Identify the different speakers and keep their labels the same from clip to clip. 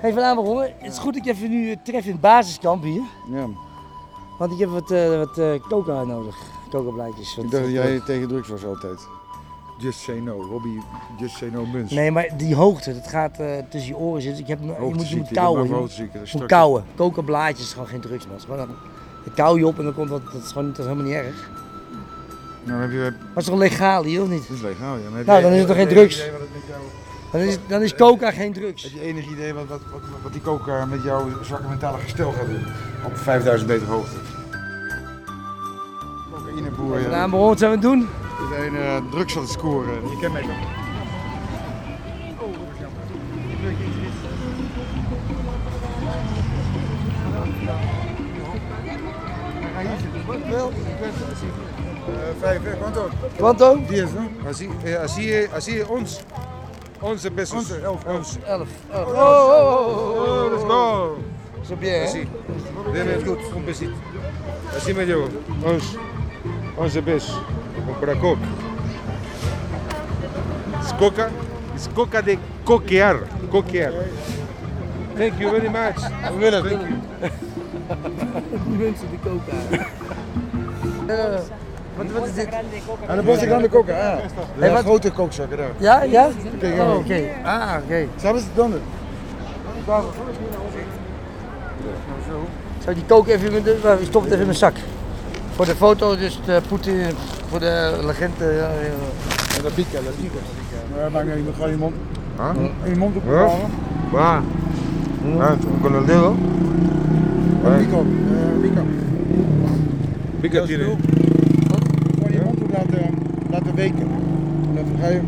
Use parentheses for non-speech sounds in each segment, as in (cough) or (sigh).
Speaker 1: Hey, vanavond hoor, het is goed dat ik even nu eh, tref in het basiskamp hier.
Speaker 2: Ja.
Speaker 1: Want ik heb wat, eh wat eh, coca nodig. Coca blijkjes.
Speaker 2: Ik dacht dat jij
Speaker 1: eh.
Speaker 2: tegen drugs was altijd. Just say no, Robbie, just say no muns.
Speaker 1: Nee, maar die hoogte, dat gaat eh, tussen je oren zitten. Ik heb, je moet, je moet kauwen. Je moet-
Speaker 2: Hoogteziekte, dat is
Speaker 1: moet
Speaker 2: strak.
Speaker 1: kauwen. Coca blaadjes is gewoon geen drugs, man. Het is gewoon een- Dan kauw je op en dan komt dat, dat is gewoon dat is helemaal niet erg. Maar
Speaker 2: Nou, dan heb je,
Speaker 1: het is toch legaal hier, of niet?
Speaker 2: dat is legaal. Ja.
Speaker 1: Nou, dan is het toch geen drugs?
Speaker 2: Heb
Speaker 1: Dan is, dan is coca geen drugs.
Speaker 2: je enig idee wat, wat, wat, wat die coca met jouw zwakke mentale gestel gaat doen? Op 5000 meter hoogte. Cocaïneboer, ja.
Speaker 1: Nou, maar wat zijn we aan het doen?
Speaker 2: Iedereen eh, drugs aan het scoren. Je kent mij toch? Wel, vijf, quanto?
Speaker 1: Quanto?
Speaker 2: Diez, no?
Speaker 3: Así, eh, así, es- así es 11. 11 pesos.
Speaker 2: 11, 11, 11.
Speaker 1: 11. Oh, oh, oh,
Speaker 3: Oh, let's go.
Speaker 1: Dat is bien, hè?
Speaker 3: Así. Deme el gut, un besito. Así me llevo. 11. 11 pesos. Comprar coca. Es coca. Es coca de coquear. Coquear. Thank you very much. I'm gonna thank you.
Speaker 1: Die mensen die coca. Eh, Wat, wat is dit?
Speaker 2: Aan de bosse kan de coca, ah.
Speaker 1: Hey,
Speaker 2: Hey,
Speaker 1: wat-
Speaker 2: wat grote kookzakken daar.
Speaker 1: Ja, ja?
Speaker 2: ja.
Speaker 1: Oh, oké. Ah, oké.
Speaker 2: Samen ze het dan?
Speaker 1: Zou ik die koken even in mijn, wacht, ik stop het even in mijn zak. Voor de foto, dus de Poetin, voor de legende. Ja, ja.
Speaker 2: Dat pica, dat pica. Maar maakt niet uit, je moet gewoon je mond,
Speaker 3: Ah,
Speaker 2: in je mond
Speaker 3: Huh?
Speaker 2: opkomen.
Speaker 3: va. Ah, con el dedo.
Speaker 2: Huh? Pico, eh, pico.
Speaker 3: Pica tiene.
Speaker 2: Gewoon je mond op laten, eh, laten weken. En dan ga je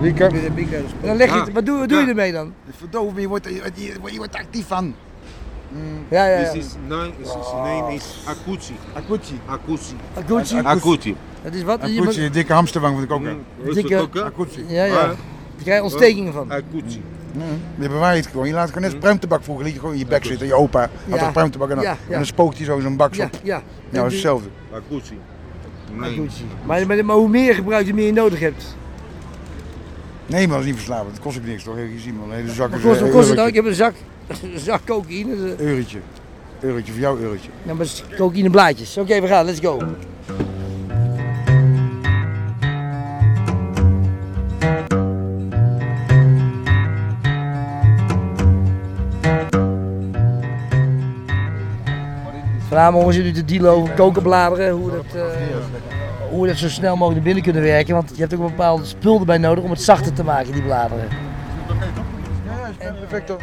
Speaker 3: Pica.
Speaker 2: weer de pica. dus-
Speaker 1: En dan leg je het,
Speaker 3: Ja.
Speaker 1: wat doe, wat doe je
Speaker 3: Ja.
Speaker 1: ermee dan?
Speaker 2: Verdoven, je wordt, je, je wordt- je wordt actief van.
Speaker 1: Ja, ja, ja.
Speaker 4: Um,
Speaker 5: This is name, his
Speaker 4: Oh.
Speaker 5: name is Akuchi.
Speaker 2: Akutsi.
Speaker 5: Akuchi.
Speaker 1: Gucci.
Speaker 5: Akuchi.
Speaker 1: Dat is wat? Je
Speaker 2: Akutsi,
Speaker 1: moet-
Speaker 2: een dikke hamsterwang van de coca.
Speaker 4: Mm.
Speaker 1: Dikke-
Speaker 2: Akutsi.
Speaker 1: Ja, ja.
Speaker 5: Ah.
Speaker 1: Je krijgt ontstekingen van.
Speaker 5: Akuchi.
Speaker 2: Je bewaart het gewoon. Je laat het gewoon net pruimtebak vroeger. Liet je gewoon in je bek zitten. Je opa had
Speaker 1: Ja.
Speaker 2: toch pruimtebak en dan,
Speaker 1: Ja, ja.
Speaker 2: en dan spookt hij zo zo'n bak
Speaker 1: Ja,
Speaker 2: op.
Speaker 1: ja. En
Speaker 2: Nou,
Speaker 1: die-
Speaker 2: hetzelfde.
Speaker 5: Akuchi.
Speaker 1: Gucci. Maar, maar, maar hoe meer je gebruikt, hoe meer je nodig hebt.
Speaker 2: Nee, maar dat is niet verslavend. Het kost ook niks toch? Je ziet maar een hele zak.
Speaker 1: Wat
Speaker 2: is,
Speaker 1: kost,
Speaker 2: eh,
Speaker 1: wat kost het
Speaker 2: eurotje.
Speaker 1: dan? Ik heb een zak, (laughs) een zak cocaïne. dus, eh,
Speaker 2: Eurotje. Eurotje voor jou, eurotje.
Speaker 1: Nou, maar het is cocaïne blaadjes. Oké, we gaan, let's go. Vanavond we zitten nu te dealen over kokenbladeren, hoe we dat, eh, hoe we dat zo snel mogelijk naar binnen kunnen werken. Want je hebt ook een bepaalde spul erbij nodig om het zachter te maken, die bladeren.
Speaker 2: Ja, is perfect hoor.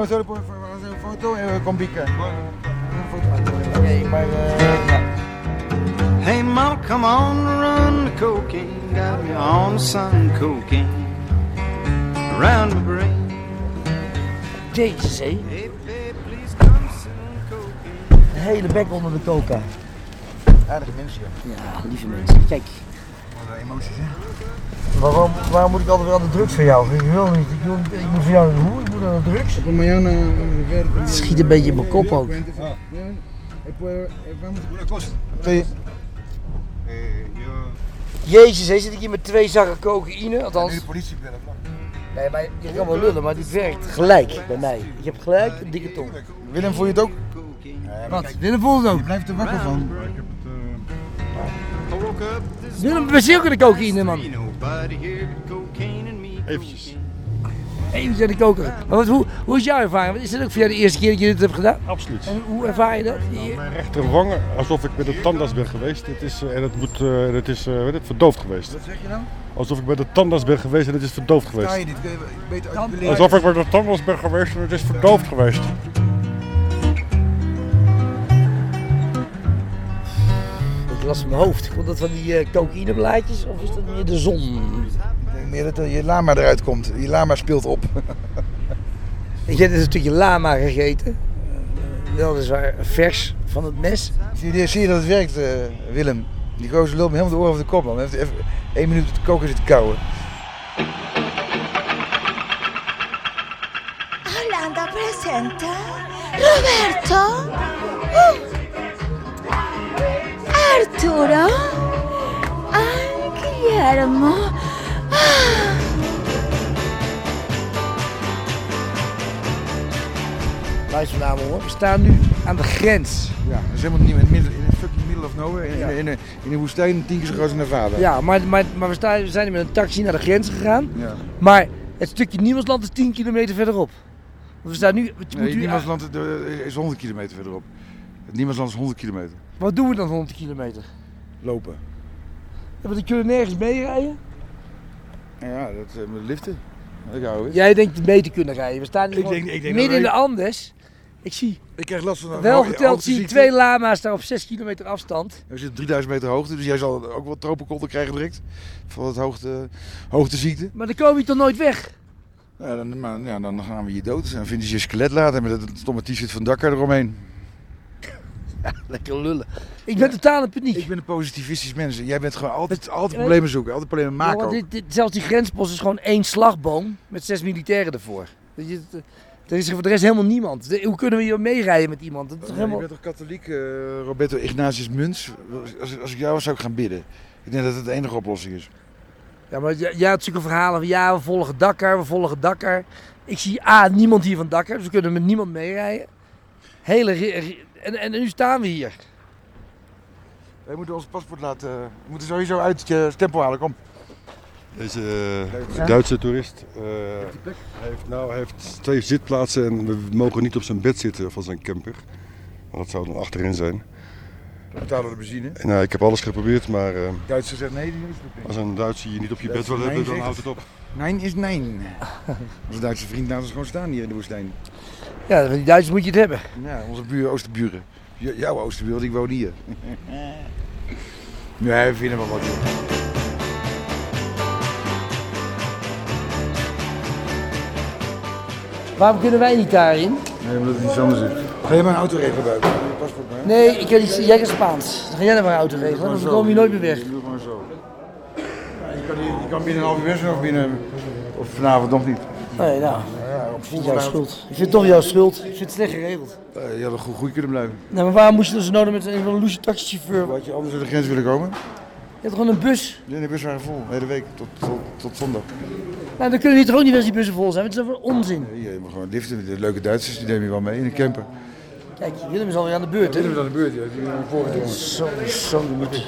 Speaker 2: We zullen een foto en we komen bieken.
Speaker 1: Oké, maar... eh, ja.
Speaker 4: Hey mom, come on, run the cocaine. Got me on some cocaine. Around my brain.
Speaker 1: Jezus, hé.
Speaker 4: Hey babe, please come soon, cocaine.
Speaker 1: De hele bek onder de coca.
Speaker 2: Aardige mensen, ja.
Speaker 1: Ja, lieve mensen, kijk.
Speaker 2: Wat emoties, hè?
Speaker 1: Waarom, waarom moet ik altijd wel aan de drugs van jou? Ik wil niet. Ik, wil, ik moet van jou een hoer, ik moet aan de drugs.
Speaker 2: Kom maar, Jan.
Speaker 1: eh,
Speaker 2: Het
Speaker 1: schiet een beetje in mijn kop ook. eh,
Speaker 3: Una cosa.
Speaker 2: Twee.
Speaker 3: Eh, yo.
Speaker 1: Jezus, hé, zit ik hier met twee zakken cocaïne? Althans,
Speaker 2: de politie bellen.
Speaker 1: nee, maar je kan wel lullen, maar dit werkt gelijk bij mij. Ik heb gelijk een dikke tong.
Speaker 2: Willem, voel je het ook?
Speaker 1: Wat? Willem voelt het ook.
Speaker 2: Je blijft er wakker van.
Speaker 4: I woke up this
Speaker 1: Willem, we zien ook aan de cocaïne, man.
Speaker 4: Ain't nobody here but cocaine and me.
Speaker 5: Eventjes.
Speaker 4: cocaine.
Speaker 1: Even aan de cocaïne. Maar wat, hoe, hoe is jouw ervaring? Want Is dit ook voor jou de eerste keer dat je dit hebt gedaan?
Speaker 5: Absoluut.
Speaker 1: En hoe ervaar je dat? Je-
Speaker 5: Mijn rechterwang, alsof ik met een tandarts ben geweest. Het is, eh, en het, moet, eh, en het is eh, weet het, verdoofd geweest.
Speaker 2: Wat zeg je nou?
Speaker 5: Alsof ik met een tandarts ben geweest en het is verdoofd
Speaker 2: Sta
Speaker 5: geweest.
Speaker 2: je dit? Kun je beter uit je
Speaker 5: Alsof ik met een tandarts ben geweest en het is verdoofd geweest.
Speaker 1: Ik las mijn hoofd. Komt dat van die eh, cocaïneblaadjes of is dat meer de zon?
Speaker 2: Ik denk meer dat er je lama eruit komt. Je lama speelt op.
Speaker 1: Ik heb dus een stukje lama gegeten. Eh, Weliswaar vers van het mes.
Speaker 2: Zie je, zie je dat het werkt, eh, Willem? Die gozer loopt me helemaal de oren over de kop, man. Hij heeft even één minuut op de koken zitten kouwen.
Speaker 6: Hollanda presenta Roberto, uh, Arturo, ah, Guillermo. Ah.
Speaker 1: Luister naar me hoor. We staan nu aan de grens.
Speaker 2: Ja, dat is helemaal niet in het midden, in het fucking middle of nowhere. In,
Speaker 1: Ja.
Speaker 2: in, in, een- in een woestijn, tien keer zo groot als Nevada.
Speaker 1: Ja, maar, maar, maar we, staan, we zijn met een taxi naar de grens gegaan.
Speaker 2: ja.
Speaker 1: Maar het stukje Nieuwsland is 10 kilometer verderop. We staan nu... het moet
Speaker 2: Nee,
Speaker 1: u-
Speaker 2: Niemandsland eh, is 100 kilometer verderop. Het Niemandsland is 100 kilometer.
Speaker 1: Wat doen we dan 100 kilometer?
Speaker 2: Lopen.
Speaker 1: Ja, Want die kunnen nergens meerijden.
Speaker 2: Ja, dat eh, met liften. Dat hou ik.
Speaker 1: Jij denkt mee te kunnen rijden. We staan nu
Speaker 2: Ik
Speaker 1: gewoon
Speaker 2: denk- ik denk
Speaker 1: midden in
Speaker 2: dat
Speaker 1: de Andes. Ik zie,
Speaker 2: Ik krijg last van een
Speaker 1: wel
Speaker 2: hoge-
Speaker 1: geteld, zie ik
Speaker 2: hoogteziekte.
Speaker 1: twee lama's daar op 6 kilometer afstand.
Speaker 2: Er zit 3000 meter hoogte, dus jij zal ook wel tropenkolder krijgen direct. Van het hoogte, hoogteziekte.
Speaker 1: Maar dan komen we toch nooit weg?
Speaker 2: Ja, dan, maar, ja, dan gaan we je dood. En dan vinden ze je skelet later met dat stomme t-shirt van Dakar eromheen.
Speaker 1: Lekker lullen. Ik ben totaal in paniek.
Speaker 2: Ik ben een positivistisch mens. en Jij bent gewoon altijd,
Speaker 1: Ja,
Speaker 2: altijd problemen zoeken, altijd problemen maken.
Speaker 1: Jongen,
Speaker 2: ook.
Speaker 1: dit, dit- zelfs die grenspost is gewoon één slagboom met zes militairen ervoor. Weet je, het, eh, er is voor de rest helemaal niemand. De- hoe kunnen we hier meerijden met iemand? Dat is toch
Speaker 2: Je
Speaker 1: helemaal...
Speaker 2: bent toch katholiek, eh, Roberto Ignatius Muns? Als, als ik jou was, zou ik gaan bidden. Ik denk dat het de enige oplossing is.
Speaker 1: Ja, maar j- jij had zulke verhalen van ja, we volgen Dakar, we volgen Dakar. Ik zie A, niemand hier van Dakar, dus we kunnen met niemand meerijden. Hele... ri- ri- En, en nu staan we hier.
Speaker 2: Wij moeten ons paspoort laten... We moeten sowieso uit je stempel halen, kom.
Speaker 5: Deze eh, Duitse toerist eh, heeft, nou, heeft twee zitplaatsen en we mogen niet op zijn bed zitten van zijn camper. Want dat zou dan achterin zijn.
Speaker 2: We betalen de benzine.
Speaker 5: En, nou, ik heb alles geprobeerd, maar eh,
Speaker 2: Duitser zegt nee, die is het niet.
Speaker 5: als een Duitser je niet op je bed
Speaker 2: Duitser
Speaker 5: wil hebben,
Speaker 2: nee
Speaker 5: dan
Speaker 2: zegt.
Speaker 5: houdt het op.
Speaker 2: Nein is nein. Onze Duitse vriend laat ons gewoon staan hier in de woestijn.
Speaker 1: Ja, van die Duitsers moet je het hebben.
Speaker 2: Ja, onze buur, Oosterburen. J- jouw Oosterburen, die woont (laughs) hier. Nee, we vinden wel wat, joh.
Speaker 1: Waarom kunnen wij niet daarin?
Speaker 2: Nee, omdat het iets anders is. Ga je maar een auto regelen buiten? Je paspoort maar.
Speaker 1: Nee, ik kan niet, jij kan Spaans. Dan ga jij naar mijn auto regelen, want we komen hier nooit meer weg.
Speaker 2: Doe maar zo. Ja, je, kan, hier- je kan binnen een half uur weg zijn of binnen... Of vanavond nog niet.
Speaker 1: Nee, nou,
Speaker 2: Ja, op
Speaker 1: jouw schuld. Ik vind het toch jouw schuld. Ik vind het slecht geregeld.
Speaker 2: Eh, je had een goed, goed kunnen blijven.
Speaker 1: Nou, maar waarom moest je dan zo nodig met een van een loesje taxichauffeur?
Speaker 2: Wat je anders door de grens willen komen?
Speaker 1: Je hebt gewoon een bus.
Speaker 2: Ja, de bus waren vol. De hele week tot, tot, tot zondag.
Speaker 1: Nou, dan kunnen we hier toch ook niet als die bussen vol zijn, want het is voor onzin.
Speaker 2: Hier, je mag gewoon liften. De leuke Duitsers, die nemen je wel mee in een camper.
Speaker 1: Kijk, Willem is alweer aan de beurt, hè?
Speaker 2: we aan de beurt, ja. Die hebben voorgedrongen.
Speaker 1: Zo, zo, je moet...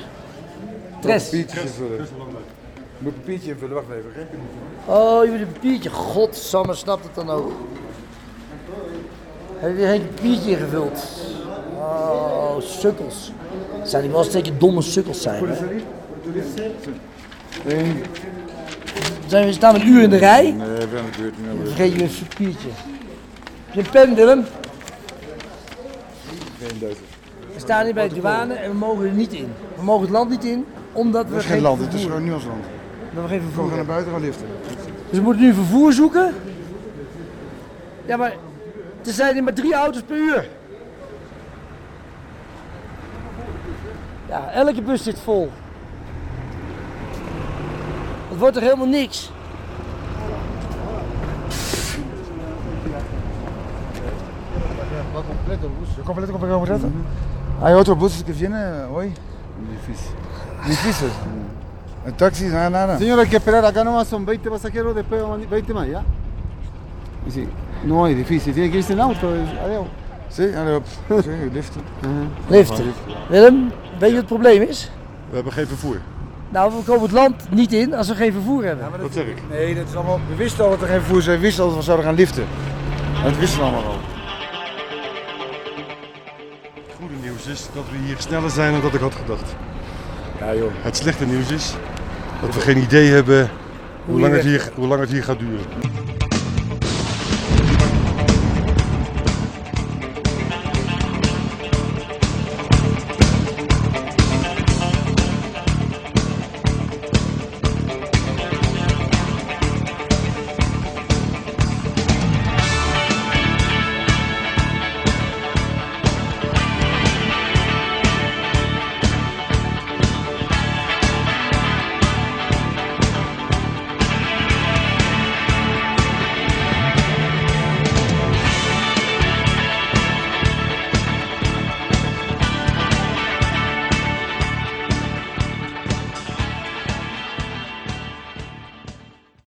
Speaker 1: Tres.
Speaker 2: Papiertje invullen. Je moet papiertje invullen, wacht even. hè.
Speaker 1: Oh, je moet een papiertje. Godsamme, snapt het dan ook. Heb je geen papiertje ingevuld? Oh, sukkels. Zijn die wel steeds domme sukkels zijn, hè?
Speaker 2: Nee,
Speaker 1: Zijn we staan we een uur in de rij?
Speaker 2: nee, we zijn aan de beurt. we zijn aan de beurt.
Speaker 1: Vergeet je een papiertje. Heb je een pen, Willem?
Speaker 2: Geen Duitsers.
Speaker 1: We staan hier bij de douane en we mogen er niet in. We mogen het land niet in, omdat we
Speaker 2: Dat is
Speaker 1: geen
Speaker 2: geen land, het is
Speaker 1: vervoer-
Speaker 2: gewoon Nieuwsland. We
Speaker 1: omdat we geen vervoer
Speaker 2: gaan naar
Speaker 1: hebben.
Speaker 2: buiten gaan liften.
Speaker 1: Dus we moeten nu vervoer zoeken. Ja, maar er zijn hier maar drie auto's per uur. Ja, elke bus zit vol. Het wordt er helemaal niks.
Speaker 2: Yo completo compré como rato. Hay otros buses que vienen hoy. Difícil. Difícil. El taxi, nada, nada.
Speaker 7: Señor, hay que esperar. Acá nomás son 20 pasajeros, después van 20 más, ¿ya? Y sí, no es difícil. Tiene que irse en auto. es- Adiós.
Speaker 2: Sí, ahora sí, liften.
Speaker 1: Lift. Willem, weet je wat het probleem is?
Speaker 5: We hebben geen vervoer.
Speaker 1: Nou, we komen het land niet in als we geen vervoer hebben.
Speaker 5: Wat zeg ik?
Speaker 2: Nee, dat is allemaal. We wisten al dat er geen voer zijn. We wisten al dat we zouden gaan liften. Dat wisten we allemaal al.
Speaker 5: Het goede nieuws is dat we hier sneller zijn dan dat ik had gedacht.
Speaker 2: Ja joh.
Speaker 5: Het slechte nieuws is dat we geen idee hebben hoe lang het
Speaker 1: weg-
Speaker 5: hier, hoe lang het hier gaat duren.